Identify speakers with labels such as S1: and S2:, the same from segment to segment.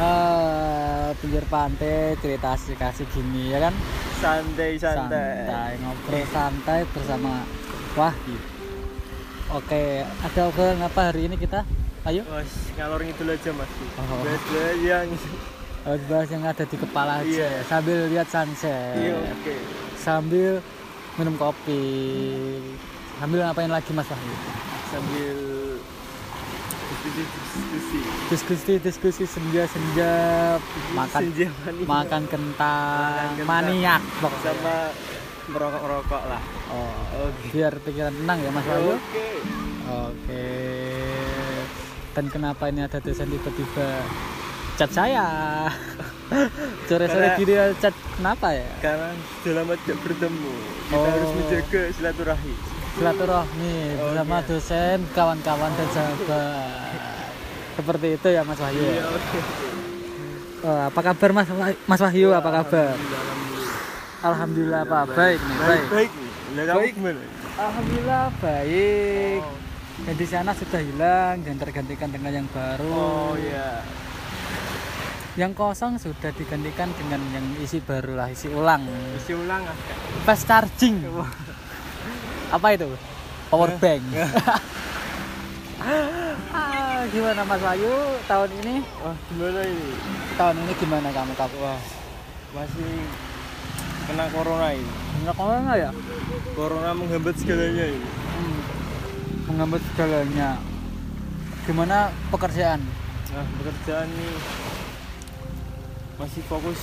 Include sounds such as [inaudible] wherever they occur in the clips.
S1: Eh, pinggir pantai cerita asik asik gini ya kan
S2: santai santai
S1: santai ngobrol santai bersama Wahyu oke ada obrolan apa hari ini kita ayo
S2: Wes, ngalor ngidul aja mas
S1: Oh. Eh.
S2: Wes, lah, yang
S1: harus bahas yang ada di kepala aja
S2: Iya.
S1: sambil lihat sunset
S2: iya oke
S1: sambil minum kopi sambil ngapain lagi mas Wahyu
S2: sambil diskusi diskusi
S1: diskusi diskusi senja senja makan
S2: senja manis
S1: makan kentang,
S2: Makan kentang.
S1: maniak pokoknya.
S2: sama merokok rokok lah
S1: oh,
S2: oke
S1: biar pikiran tenang ya mas Wahyu
S2: oke
S1: Oke. Dan kenapa ini ada tulisan tiba-tiba chat
S2: [laughs]
S1: saya? Sore-sore
S2: Karena-
S1: gini chat kenapa ya?
S2: karena sudah lama tidak bertemu kita
S1: Oh.
S2: harus menjaga silaturahmi
S1: Silaturahmi bersama
S2: Oke.
S1: dosen, kawan-kawan dan sahabat. Seperti itu ya Mas Wahyu.
S2: iya oke
S1: Eh, apa kabar Mas Wah- Mas Wahyu? Apa kabar?
S2: Alhamdulillah.
S1: Alhamdulillah Pak baik nih, baik.
S2: baik Lah, kamu
S1: Baik.
S2: gimana?
S1: Alhamdulillah baik.
S2: Oh.
S1: Dan di sana sudah hilang dan tergantikan dengan yang baru.
S2: oh
S1: iya.
S2: ya
S1: Yang kosong sudah digantikan dengan yang isi baru lah, isi ulang.
S2: isi ulang ah Kak.
S1: Fast charging. Apa itu? Power [laughs] bank. Ah, gimana Mas Wahyu tahun ini?
S2: wah gimana ini
S1: Tahun ini gimana kamu kamu? Wah,
S2: masih kena corona ini
S1: nggak corona ya?
S2: corona menghambat segalanya ini
S1: Hmm. Menghambat segalanya. Gimana pekerjaan?
S2: nah pekerjaan nih masih fokus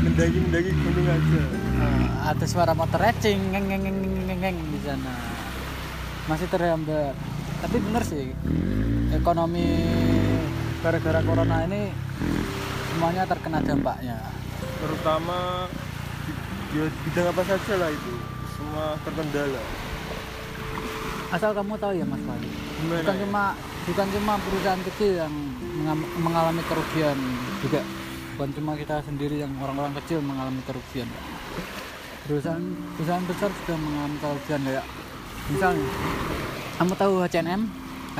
S2: mendaki mendaki gunung aja
S1: Ah, ada suara motor racing ngeng ngeng ngeng ngeng, ngeng ngeng di sana. Masih terhambat. Tapi bener sih. Ekonomi gara-gara corona ini semuanya terkena dampaknya.
S2: terutama di, ya, bidang apa saja lah itu semua terkendala
S1: Asal kamu tahu ya Mas Wali.
S2: gimana
S1: Bukan
S2: ya?
S1: cuma bukan cuma perusahaan kecil yang mengam- mengalami kerugian juga. Bukan cuma kita sendiri yang orang-orang kecil mengalami kerugian. Perusahaan perusahaan besar juga mengalami kerugian kayak misalnya kamu tahu H&M,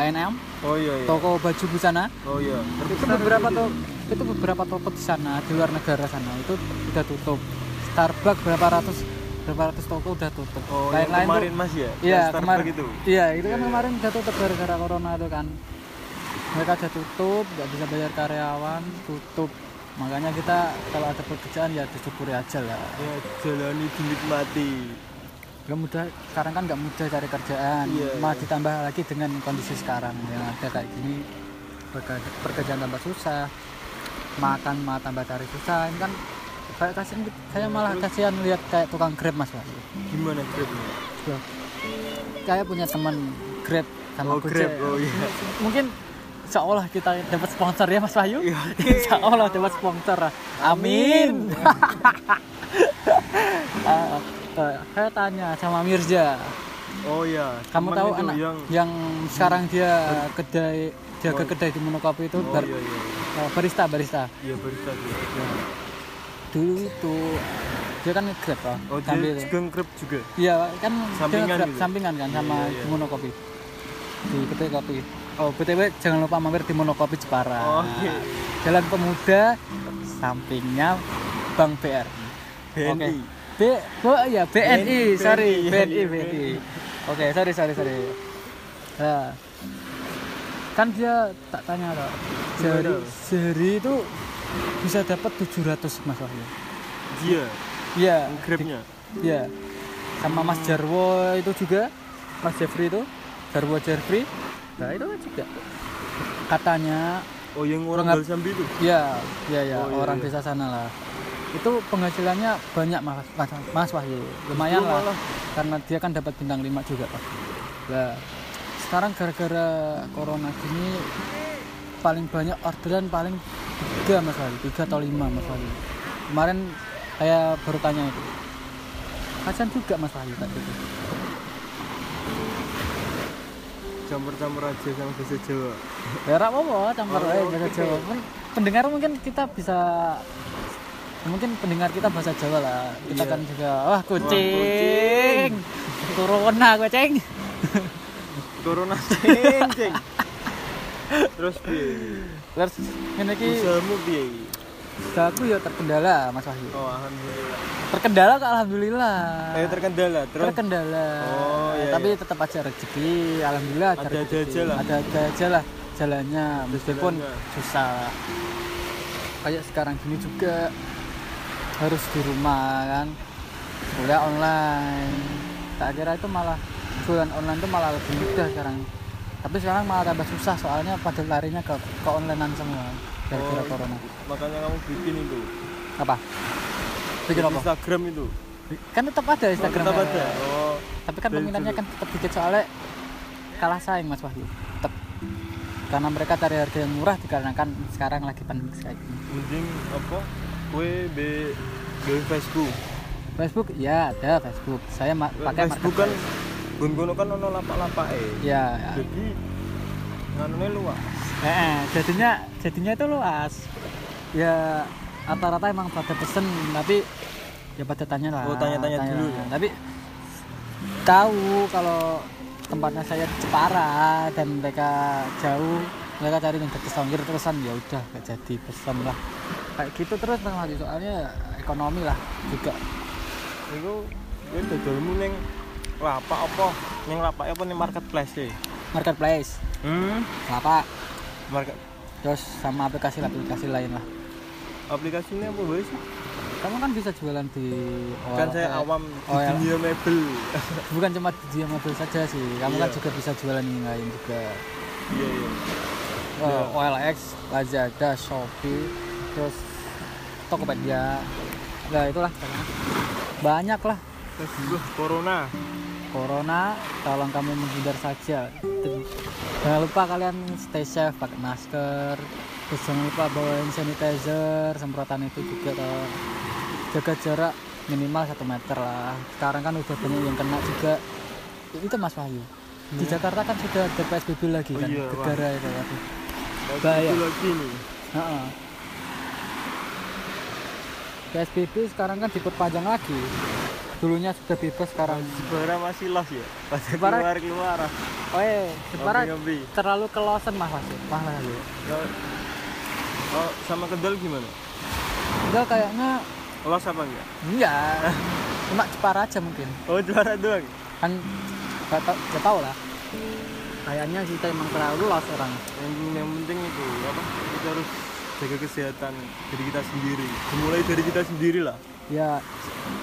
S1: H&M,
S2: oh iya iya
S1: toko baju busana
S2: oh iya
S1: itu
S2: Terbesar
S1: beberapa
S2: itu.
S1: toko itu beberapa toko di sana di luar negara sana itu udah tutup Starbucks berapa ratus berapa ratus toko udah tutup
S2: oh yang kemarin mas ya
S1: tuh, iya
S2: Yang Starbucks
S1: kemarin
S2: itu
S1: iya itu kan
S2: Iya, iya.
S1: kemarin udah tutup gara-gara corona itu kan mereka udah tutup nggak bisa bayar karyawan tutup makanya kita kalau ada pekerjaan ya disyukuri aja lah
S2: ya jalani dinikmati
S1: Gak mudah, sekarang kan nggak mudah cari kerjaan.
S2: Iya,
S1: Malah
S2: iya.
S1: ditambah lagi dengan kondisi sekarang yang ada kayak gini, perke- pekerjaan tambah susah, makan malah tambah cari susah. Ini kan kayak kasihan, gitu.
S2: Iya,
S1: saya malah kasihan lihat kayak tukang grab mas Wahyu.
S2: gimana grabnya
S1: Loh, Saya punya teman grab sama
S2: oh
S1: Gojek.
S2: grab oh iya
S1: Mungkin seolah kita dapat sponsor ya Mas Wahyu. [laughs]
S2: Iya, oke.
S1: Insya Allah dapat sponsor. [laughs] Amin. Eh, eh, saya tanya sama Mirza.
S2: oh iya
S1: Kamu
S2: teman
S1: tahu
S2: itu
S1: anak yang,
S2: yang Hmm.
S1: sekarang dia kedai jaga
S2: Oh.
S1: kedai di Monokopi itu
S2: oh
S1: bar-
S2: iya iya iya.
S1: eh, barista barista.
S2: Iya barista dia.
S1: Dulu itu dia kan nge-grab loh.
S2: Oh dia
S1: sambil ya?
S2: juga nge-grab juga.
S1: Iya kan dia
S2: Sampingan
S1: nge-grab
S2: gitu.
S1: sampingan kan sama
S2: Iya, iya, iya.
S1: Monokopi. Di kedai kopi. Oh, BTW jangan lupa mampir di Monokopi Jepara.
S2: Oke.
S1: Jalan Pemuda sampingnya Bank BR.
S2: BNI.
S1: Oke. B, oh ya BNI,
S2: BNI,
S1: sorry, BNI,
S2: BNI.
S1: BNI. Oke, sorry, sorry, sorry. Nah, kan dia tak tanya loh. Sehari,
S2: Gimana?
S1: sehari itu bisa dapat 700 Mas Wahyu.
S2: Dia
S1: Iya,
S2: grabnya.
S1: iya. Sama Mas Jarwo itu juga, Mas Jeffrey itu, Jarwo Jeffrey. Nah, itu kan juga katanya
S2: Oh yang orang
S1: Pengab-
S2: Nggak. sambil itu.
S1: Ya, ya, ya,
S2: Oh, iya,
S1: orang
S2: iya.
S1: desa sana lah. Itu penghasilannya banyak mas, mas, mas Wahyu, lumayan
S2: Justru
S1: lah.
S2: malah.
S1: Karena dia kan dapat bintang 5 juga pak. Nah, sekarang gara-gara corona gini paling banyak orderan paling tiga mas Wahyu, tiga atau lima mas Wahyu. Kemarin saya baru tanya itu. Kasian juga mas Wahyu gitu. tadi itu.
S2: Campur-campur aja sama bahasa Jawa.
S1: Ya ora apa-apa, campur
S2: Oh,
S1: wae bahasa
S2: oke.
S1: Jawa. Pen- Pendengar mungkin kita bisa mungkin pendengar kita bahasa Jawa lah. Kita
S2: Iya.
S1: kan juga wah kucing. Corona kucing.
S2: [laughs] Corona ceng ceng. Terus piye?
S1: Terus ngene iki
S2: Usahamu piye?
S1: usaha aku ya terkendala Mas Wahyu.
S2: Oh, alhamdulillah.
S1: Terkendala kok alhamdulillah.
S2: Eh terkendala, terus
S1: terkendala.
S2: Oh, iya,
S1: Tapi tetap aja rezeki, alhamdulillah ada
S2: Ada-ada
S1: rezeki.
S2: aja lah.
S1: Ada-ada aja lah jalannya meskipun
S2: jalannya.
S1: susah. Kayak sekarang gini juga harus di rumah kan. Udah online. Tak kira itu malah jualan online itu malah lebih mudah sekarang. Tapi sekarang malah tambah susah soalnya pada larinya ke ke onlinean semua gara-gara
S2: Oh,
S1: corona.
S2: makanya kamu bikin itu.
S1: Apa? Bikin apa?
S2: Instagram itu.
S1: Kan tetap ada
S2: Oh,
S1: Instagram. kan?
S2: tetap ada. Oh,
S1: Tapi kan
S2: Dari
S1: peminatnya
S2: dulu.
S1: kan tetap dikit soalnya kalah saing Mas Wahyu. Tetap. Karena mereka cari harga yang murah dikarenakan sekarang lagi pandemi kayak gini.
S2: mending apa? Kue be dari Facebook.
S1: Facebook ya ada Facebook. Saya ma- pakai
S2: Facebook kan bun kono kan ono lapak-lapak e.
S1: Ya, ya.
S2: Jadi nganune luas.
S1: Eh, eh, jadinya jadinya itu luas. Ya rata-rata emang pada pesen tapi ya pada tanya lah.
S2: Oh, tanya-tanya dulu ya.
S1: Tapi tahu kalau tempatnya saya di Jepara dan mereka jauh mereka cari yang dekat Songkir terusan ya udah gak jadi pesen lah kayak gitu terus Bang Haji soalnya ekonomi lah juga
S2: Iku kowe dodolmu ning lapak apa? Ning lapak apa ning marketplace e?
S1: marketplace
S2: Hmm,
S1: kelapa
S2: market
S1: terus sama aplikasi-aplikasi lain lah
S2: aplikasinya apa wae sih?
S1: kamu kan bisa jualan di
S2: Kan saya
S1: OLX.
S2: awam di
S1: Oh, ya.
S2: dunia mebel.
S1: bukan cuma dia mobil saja sih kamu kan
S2: Iya.
S1: juga bisa jualan yang lain juga
S2: [laughs] Iya, iya.
S1: Eh, OLX Lazada Shopee terus Tokopedia nah itulah banyak lah
S2: Terus corona.
S1: Corona tolong kamu menghindar saja Ter- jangan lupa kalian stay safe pakai masker terus jangan lupa bawa hand sanitizer semprotan itu juga toh. jaga jarak minimal 1 meter lah sekarang kan udah banyak yang kena juga itu Mas Wahyu di Jakarta kan sudah ada PSBB lagi
S2: Iya. Oh
S1: kan
S2: iya,
S1: gegara itu lagi
S2: Lagi
S1: Bahaya.
S2: itu lagi nih.
S1: Heeh. PSBB sekarang kan diperpanjang lagi dulunya sudah bebas sekarang
S2: Jepara masih los ya. Pas
S1: Jepara-
S2: keluar keluar.
S1: Oh, eh, Jepara
S2: Ngombe-ngombe.
S1: terlalu kelosen Mas Mas. Mas Mas.
S2: Kalau- kalau sama kedel gimana?
S1: Enggak kayaknya
S2: Los apa enggak?
S1: enggak. Cuma Jepara aja mungkin.
S2: Oh juara doang.
S1: Kan enggak tahu, nggak tahu lah. Kayaknya kita emang terlalu los orang.
S2: Yang, yang penting itu apa? Kita harus jaga kesehatan dari kita sendiri. Dimulai dari kita sendiri lah.
S1: Ya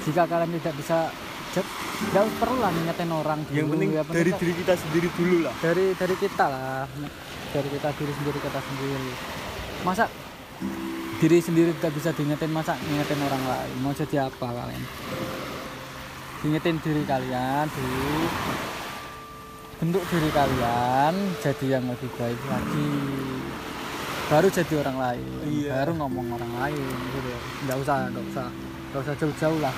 S1: jika kalian tidak bisa je- nggak perlu lah ngingetin orang dulu.
S2: Yang penting
S1: Ya,
S2: dari diri kita sendiri dulu lah.
S1: dari dari kita lah. Dari kita diri sendiri kita sendiri. Masa diri sendiri tidak bisa diingetin masa ngingetin orang lain mau jadi apa kalian ingetin diri kalian dulu bentuk diri kalian jadi yang lebih baik lagi baru jadi orang lain
S2: Iya.
S1: baru ngomong orang lain gitu ya. nggak usah nggak usah nggak usah jauh-jauh lah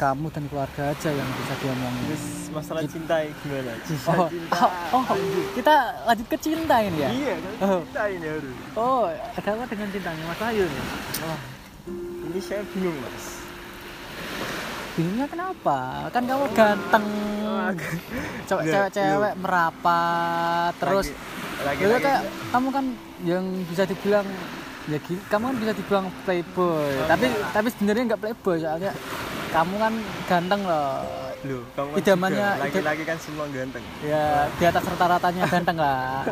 S1: kamu dan keluarga aja yang bisa diomongin
S2: Terus masalah cinta ya gimana? Cinta,
S1: oh,
S2: cinta.
S1: oh, oh, kita lanjut ke cinta ini ya
S2: Iya kan
S1: Oh.
S2: cinta ini harus.
S1: oh ada apa dengan cintanya mas Ayu nih
S2: Wah, ini saya bingung mas.
S1: bingungnya kenapa kan kamu ganteng Ah, Coba
S2: Nggak,
S1: cewek-cewek merapat terus
S2: iya. lagi,
S1: Lalu
S2: lagi,
S1: kayak kamu kan yang bisa dibilang ya gi- kamu kan bisa dibilang playboy
S2: Oh,
S1: tapi
S2: iya.
S1: tapi sebenarnya nggak playboy soalnya kamu kan ganteng loh
S2: Loh, kamu kan
S1: idamannya-
S2: juga. laki-laki kan semua ganteng.
S1: ya di atas rata-ratanya ganteng lah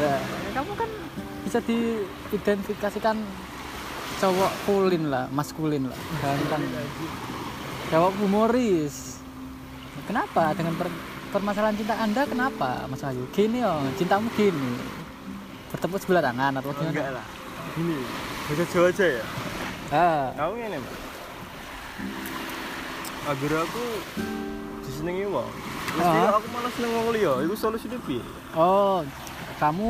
S1: Ya, kamu kan bisa diidentifikasikan cowok kulin lah maskulin lah ganteng cowok humoris kenapa dengan per- permasalahan cinta anda kenapa mas Ayu gini oh cintamu gini bertepuk sebelah tangan atau
S2: Oh,
S1: gimana
S2: enggak lah. Gini, bahasa Jawa aja ya.
S1: Ah,
S2: Kamu ini mas. Agar aku disenengi wong. Terus
S1: Ah.
S2: dia, aku malah seneng wong liya. Iku solusinya piye?
S1: oh kamu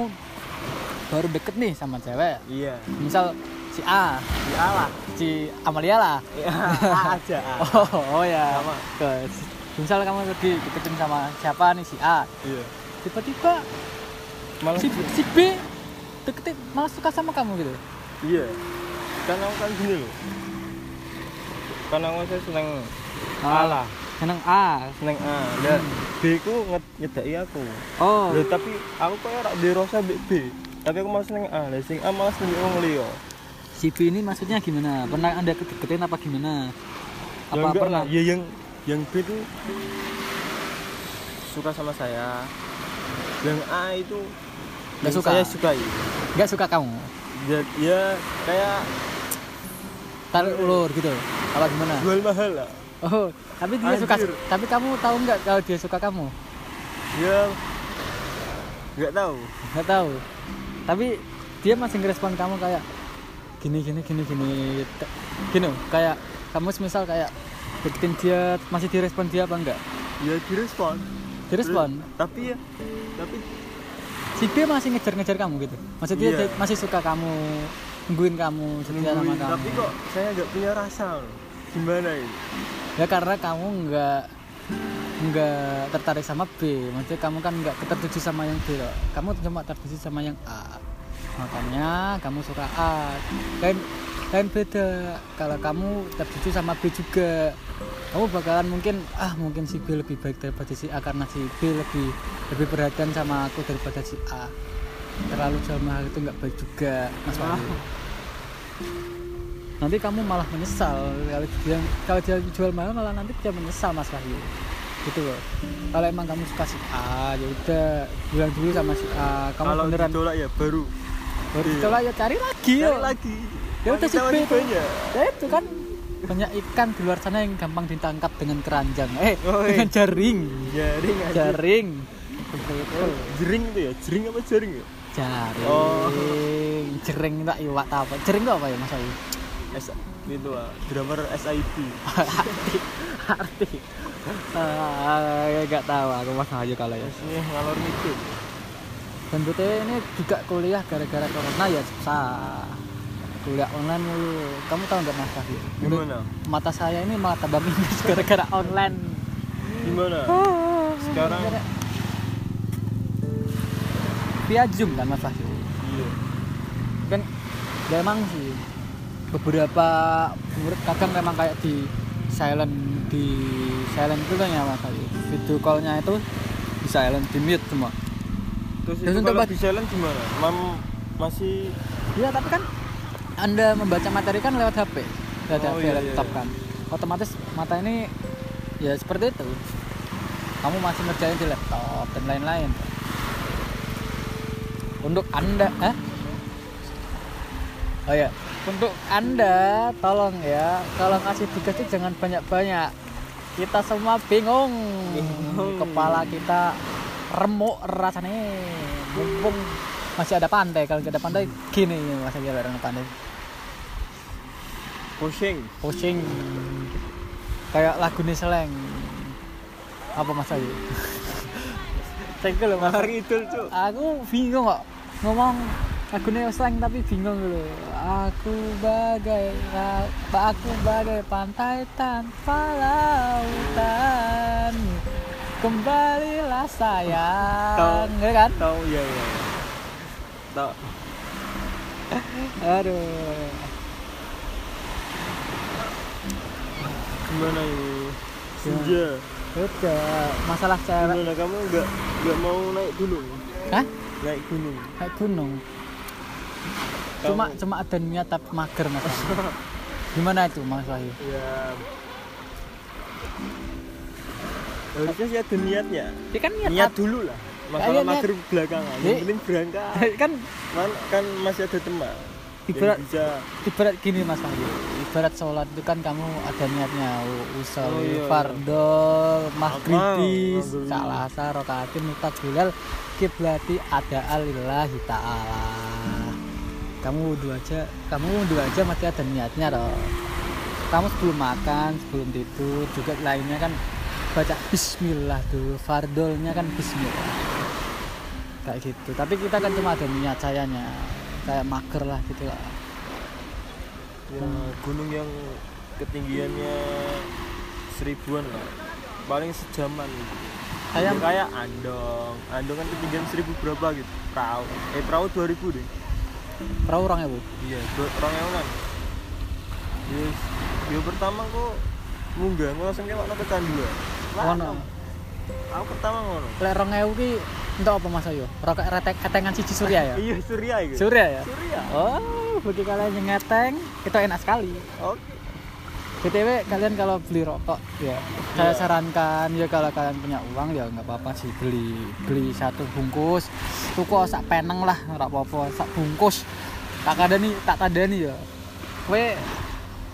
S1: baru deket nih sama cewek
S2: Iya.
S1: misal si A
S2: Ya lah.
S1: si Amalia lah
S2: Ya A [laughs] aja. ah. A.
S1: Oh, oh ya.
S2: Sama.
S1: Terus, misal kamu lagi deketin sama siapa nih si A,
S2: Iya.
S1: tiba-tiba
S2: Malah
S1: si, si B deketin malah suka sama kamu gitu.
S2: iya. Kan aku kan gini loh. Kan aku saya seneng A lah,
S1: Oh, Seneng A.
S2: seneng A. Dan B ku nge- nyedaki aku.
S1: Oh,
S2: Loh, ya tapi aku kok ora di rasa B. Tapi aku malah seneng A. Lah sing A malah seneng wong liya.
S1: CV ini maksudnya gimana? Pernah Anda kedeketin apa gimana?
S2: Ya
S1: Apa
S2: enggak
S1: pernah?
S2: lah. Ya yang yang B itu suka sama saya. Yang A itu
S1: Nggak
S2: yang
S1: suka.
S2: Saya sukai.
S1: Nggak suka kamu?
S2: Ya, ya kayak
S1: Tarik ulur gitu? Apa gimana?
S2: jual mahal lah.
S1: Oh, tapi dia suka
S2: Anjir.
S1: tapi kamu tahu nggak kalau dia suka kamu?
S2: Ya nggak tahu.
S1: Nggak tahu. Tapi dia masih ngerespon kamu kayak gini gini gini gini T- gini kayak kamu semisal kayak deketin dia masih direspon dia apa enggak?
S2: Ya direspon.
S1: Direspon.
S2: Terus- Tapi ya tapi
S1: Si B masih ngejar-ngejar kamu gitu. Maksudnya
S2: Iya.
S1: dia masih suka kamu, nungguin kamu, setia sama
S2: nungguin.
S1: kamu.
S2: tapi kok saya nggak punya rasa loh. gimana ini
S1: Ya karena kamu nggak nggak tertarik sama B, maksudnya kamu kan nggak tertuju sama yang B, loh. kamu cuma tertuju sama yang A. Makanya kamu suka A. Lain lain beda. Kalau kamu tertuju sama B juga, kamu bakalan mungkin ah mungkin si B lebih baik daripada si A karena si B lebih lebih perhatian sama aku daripada si A. Terlalu jual mahal itu nggak baik juga, Mas Wahyu
S2: Ah.
S1: nanti kamu malah menyesal kalau dia kalau dia jual mahal malah nanti dia menyesal mas Wahyu gitu loh kalau emang kamu suka si A ya udah bilang dulu sama si A kamu
S2: kalau
S1: beneran
S2: ditolak ya baru
S1: baru
S2: iya.
S1: ditolak ya cari lagi
S2: cari
S1: yuk.
S2: lagi
S1: ya udah si B
S2: Wanita masih
S1: itu
S2: banyak.
S1: ya itu kan banyak ikan di luar sana yang gampang ditangkap dengan keranjang eh
S2: Oi.
S1: dengan jaring
S2: jaring aja
S1: jaring
S2: jering itu ya jering apa jaring ya
S1: jaring
S2: Oh.
S1: jering tak iwak tak apa jering itu apa ya mas Wahyu
S2: S itu ah drummer SIP
S1: arti Ah, nggak tahu aku mas Wahyu kalau ya
S2: biasanya ngalor ngikut
S1: dan BTW ini juga kuliah gara-gara corona ya susah kuliah online mulu kamu tahu nggak mas Wahyu Menurut
S2: gimana
S1: mata saya ini malah tambah minus [laughs] gara-gara online
S2: gimana
S1: Ah.
S2: sekarang
S1: via zoom kan mas Wahyu
S2: iya
S1: kan ya emang sih beberapa murid kadang memang kayak di silent di silent itu kan ya mas Wahyu video callnya itu di silent di mute semua Terus
S2: terus itu
S1: untuk
S2: kalau
S1: bag-
S2: di silent gimana mam masih
S1: Iya, tapi kan Anda membaca materi kan lewat HP, lewat
S2: Oh,
S1: HP,
S2: iya,
S1: laptop
S2: iya.
S1: kan. Otomatis mata ini ya seperti itu. Kamu masih ngerjain di laptop dan lain-lain. Untuk Anda, eh? Oh ya, untuk Anda tolong ya, kalau ngasih tugas itu jangan banyak-banyak. Kita semua bingung.
S2: Bingung.
S1: Kepala kita remuk rasanya. Mumpung masih ada pantai, kalau nggak ada pantai gini masih ada orang pantai.
S2: pushing
S1: Pusing. Kayak lagu nih seleng. Apa Mas Ayu? Cengkel loh, Mas.
S2: ngalor ngidul cuk
S1: Aku bingung kok ngomong lagu nih seleng tapi bingung dulu. Aku bagai ra- aku bagai pantai tanpa lautan. Kembalilah sayang,
S2: Tahu.
S1: ya kan?
S2: tahu ya ya tahu
S1: Aduh.
S2: gimana ya? ini senja
S1: Udah, masalah cewek.
S2: gimana kamu nggak nggak mau naik gunung
S1: Hah?
S2: naik gunung
S1: Kayak gunung.
S2: Kamu-
S1: Cuma cuma ada niat tapi mager mas. Wahyu. Gimana itu mas Wahyu?
S2: ya harusnya sih ada niatnya
S1: Ya kan niat.
S2: niat dulu lah masalah
S1: Kayaknya-
S2: mager belakangan yang
S1: Eh.
S2: penting berangkat
S1: kan
S2: kan kan masih ada teman
S1: Ibarat-
S2: yang bisa
S1: ibarat gini mas Wahyu. Ibarat sholat itu kan kamu ada niatnya. Usol,
S2: Oh, iya, iya.
S1: fardo, maghribis, salah
S2: Apa?
S1: rokaatin, mutakulal, kiblati, ada alillahi ta'ala. Kamu wudhu aja, kamu wudhu aja masih ada niatnya loh. kamu sebelum makan, sebelum tidur juga lainnya kan baca bismillah dulu, fardolnya kan bismillah. Kayak gitu. Tapi kita kan cuma ada niat sayanya. Kayak mager lah gitu lah.
S2: ya, gunung yang ketinggiannya seribuan lah paling sejaman gitu.
S1: Kayak
S2: Ya, kayak andong andong kan ketinggian seribu berapa gitu perahu eh perahu 2000 deh
S1: perahu orang ya, Bu.
S2: Iya, dua orang ewonan. Yes. Yo pertama ku munggah, ku langsung kewakno kecanduan. ya. Lah,
S1: Ngono.
S2: Aku pertama ngono.
S1: Lek 2000 ki Untuk apa Mas Ayu? Rokok retek etengan siji surya ya?
S2: iya Surya itu
S1: Surya ya?
S2: Surya
S1: Oh, bagi kalian yang ngeteng, itu enak sekali.
S2: oke
S1: BTW kalian kalau beli rokok ya saya sarankan ya kalau kalian punya uang ya nggak apa-apa sih beli beli satu bungkus tuku sak peneng lah nggak apa-apa sak bungkus tak ada nih tak ada nih ya we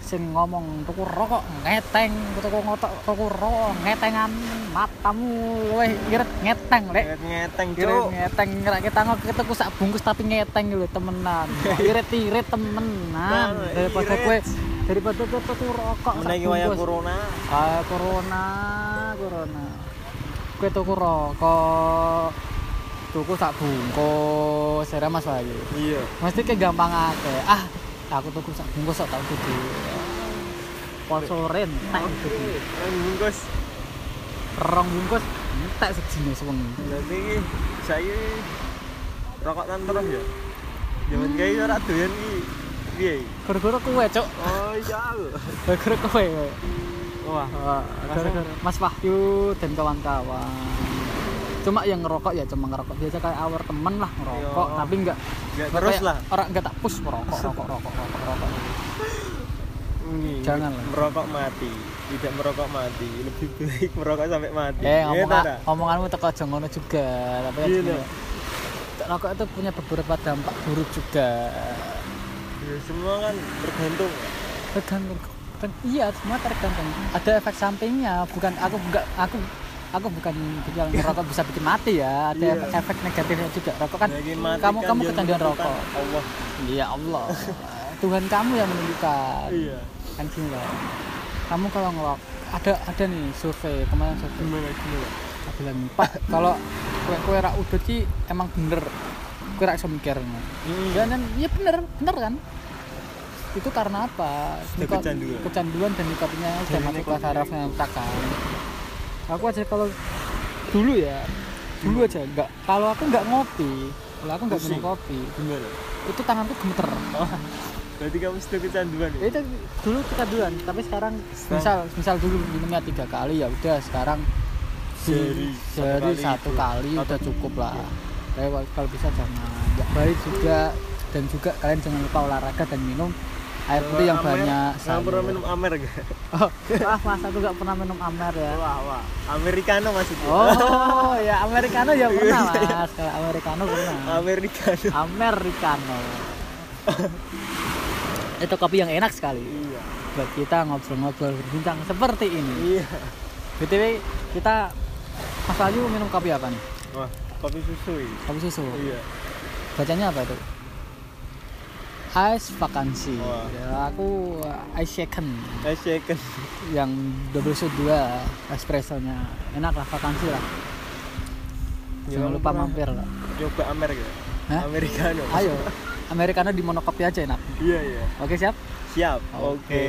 S1: sing ngomong tuku rokok ngeteng tuku ngotok tuku rokok ngetengan matamu weh irit ngeteng lek
S2: ngeteng
S1: Eh. Kira
S2: cuk
S1: ngeteng ngerak kita ngok kita ku sak bungkus tapi ngeteng lho temenan.
S2: [laughs]
S1: Irit irit temenan
S2: Nah,
S1: daripada
S2: irit.
S1: kue daripada kue tuku rokok sak
S2: menaiki wayang
S1: bungkus.
S2: corona
S1: Ah corona corona. Kue tuku rokok tuku sak bungkus era Mas Wahyu.
S2: iya
S1: Mesti kayak gampang akeh. Ah, aku tuku sak bungkus sak tau gede. Posoren tak gede.
S2: yang bungkus
S1: Rong bungkus tak sejenis wengi.
S2: berarti ini saya rokokan terus ya jangan kayak ora doyan iki piye iki?
S1: Gara-gara kue, Cuk.
S2: oh iya aku.
S1: Gara-gara kue. kue.
S2: wah
S1: Wah, gara-gara Mas Wahyu dan kawan-kawan. Cuma yang ngerokok ya cuma ngerokok biasa kayak awal temen lah ngerokok,
S2: Yo.
S1: tapi enggak
S2: Nggak terus lah.
S1: Orang enggak tak push merokok, rokok, rokok, rokok, rokok.
S2: Ini,
S1: Jangan lah.
S2: merokok mati tidak merokok mati lebih baik [laughs] merokok sampai mati
S1: Eh,
S2: Iya,
S1: ngomong
S2: Tara?
S1: omonganmu teko aja ngono juga, tapi ya
S2: Iya,
S1: aja ngono. Rokok itu punya beberapa dampak buruk juga.
S2: Ya, semua kan tergantung
S1: Tergantung ter- iya, semua tergantung. Ada efek sampingnya, bukan aku enggak aku aku bukan bilang rokok bisa bikin mati ya. Ada
S2: Iya.
S1: efek, efek negatifnya juga. Rokok kan
S2: Lagi mati
S1: kamu
S2: kan
S1: kamu
S2: yang
S1: kecanduan
S2: menentukan
S1: rokok.
S2: Allah
S1: Ya Allah, Tuhan kamu yang menentukan.
S2: iya
S1: Kan gini loh. Kamu kalau ngelok ada ada nih survei kemarin survei
S2: gimana gimana
S1: Tak bilang pak kalau kue kue rak udut sih emang bener kue rak iso mikir
S2: enggak
S1: dan dan ya bener bener kan itu karena apa
S2: Sudah
S1: Nikot-
S2: kecanduan.
S1: kecanduan dan nikotinnya sudah
S2: Dan
S1: masuk ke
S2: nikotinnya.
S1: saraf otak kan aku aja kalau dulu ya dulu aja nggak kalau aku nggak ngopi kalau aku nggak minum
S2: Hmm.
S1: kopi
S2: Pusing. gimana
S1: itu tanganku gemeter
S2: oh berarti kamu sudah kecanduan
S1: Ya
S2: ya?
S1: itu dulu kita duluan tapi sekarang
S2: Sekarang-
S1: misal misal dulu minumnya tiga kali ya udah sekarang
S2: Sehari
S1: di- sehari satu kali
S2: Atau-
S1: udah cukup lah
S2: Iya.
S1: lewat kalau bisa jangan ya, baik juga dan juga kalian jangan lupa olahraga dan minum air putih Eh, yang
S2: Amer,
S1: banyak
S2: kamu pernah
S1: sayur.
S2: minum Amer
S1: [laughs]
S2: gak?
S1: oh,
S2: [laughs]
S1: ah mas aku nggak pernah minum amer ya
S2: wah wah Americano maksudnya
S1: oh ya americano ya
S2: [laughs]
S1: pernah mas kalau americano pernah
S2: Americano [laughs]
S1: americano itu kopi yang enak sekali
S2: iya
S1: buat kita ngobrol-ngobrol berbincang seperti ini.
S2: iya
S1: BTW kita Mas Wahyu minum kopi apa nih?
S2: wah kopi susu ya
S1: Kopi susu.
S2: iya
S1: Bacanya apa itu? Ice vakansi.
S2: Wah.
S1: Ya, aku ice shaken
S2: saya second
S1: yang double shot dua espressonya. Enak lah vakansi lah. Jangan
S2: Ya, kamu
S1: lupa
S2: pernah-
S1: mampir lah.
S2: coba Amer gak?
S1: Hah?
S2: Americano
S1: Ayo, Americano di monokopi aja enak.
S2: iya iya
S1: Oke siap?
S2: siap
S1: Oke.
S2: oke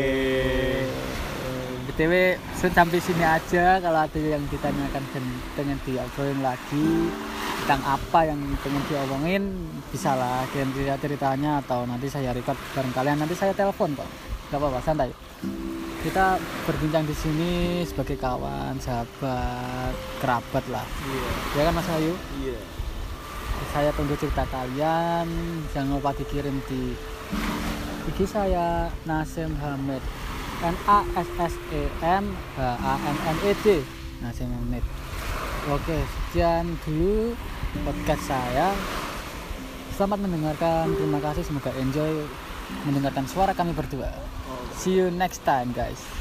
S1: Eh, BTW sun- sampai sini aja kalau ada yang ditanyakan dan pengen diobrolin lagi tentang apa yang pengen diomongin bisa lah kalian cerita ceritanya atau nanti saya record bareng kalian nanti saya telepon kok nggak apa-apa santai kita berbincang di sini sebagai kawan sahabat kerabat lah
S2: iya
S1: ya kan Mas Ayu
S2: iya
S1: saya tunggu cerita kalian jangan lupa dikirim di IG saya Nasim Hamid N A S S E M H A M M E D Nasim Hamid oke sekian dulu podcast saya selamat mendengarkan terima kasih semoga enjoy mendengarkan suara kami berdua
S2: oke
S1: see you next time guys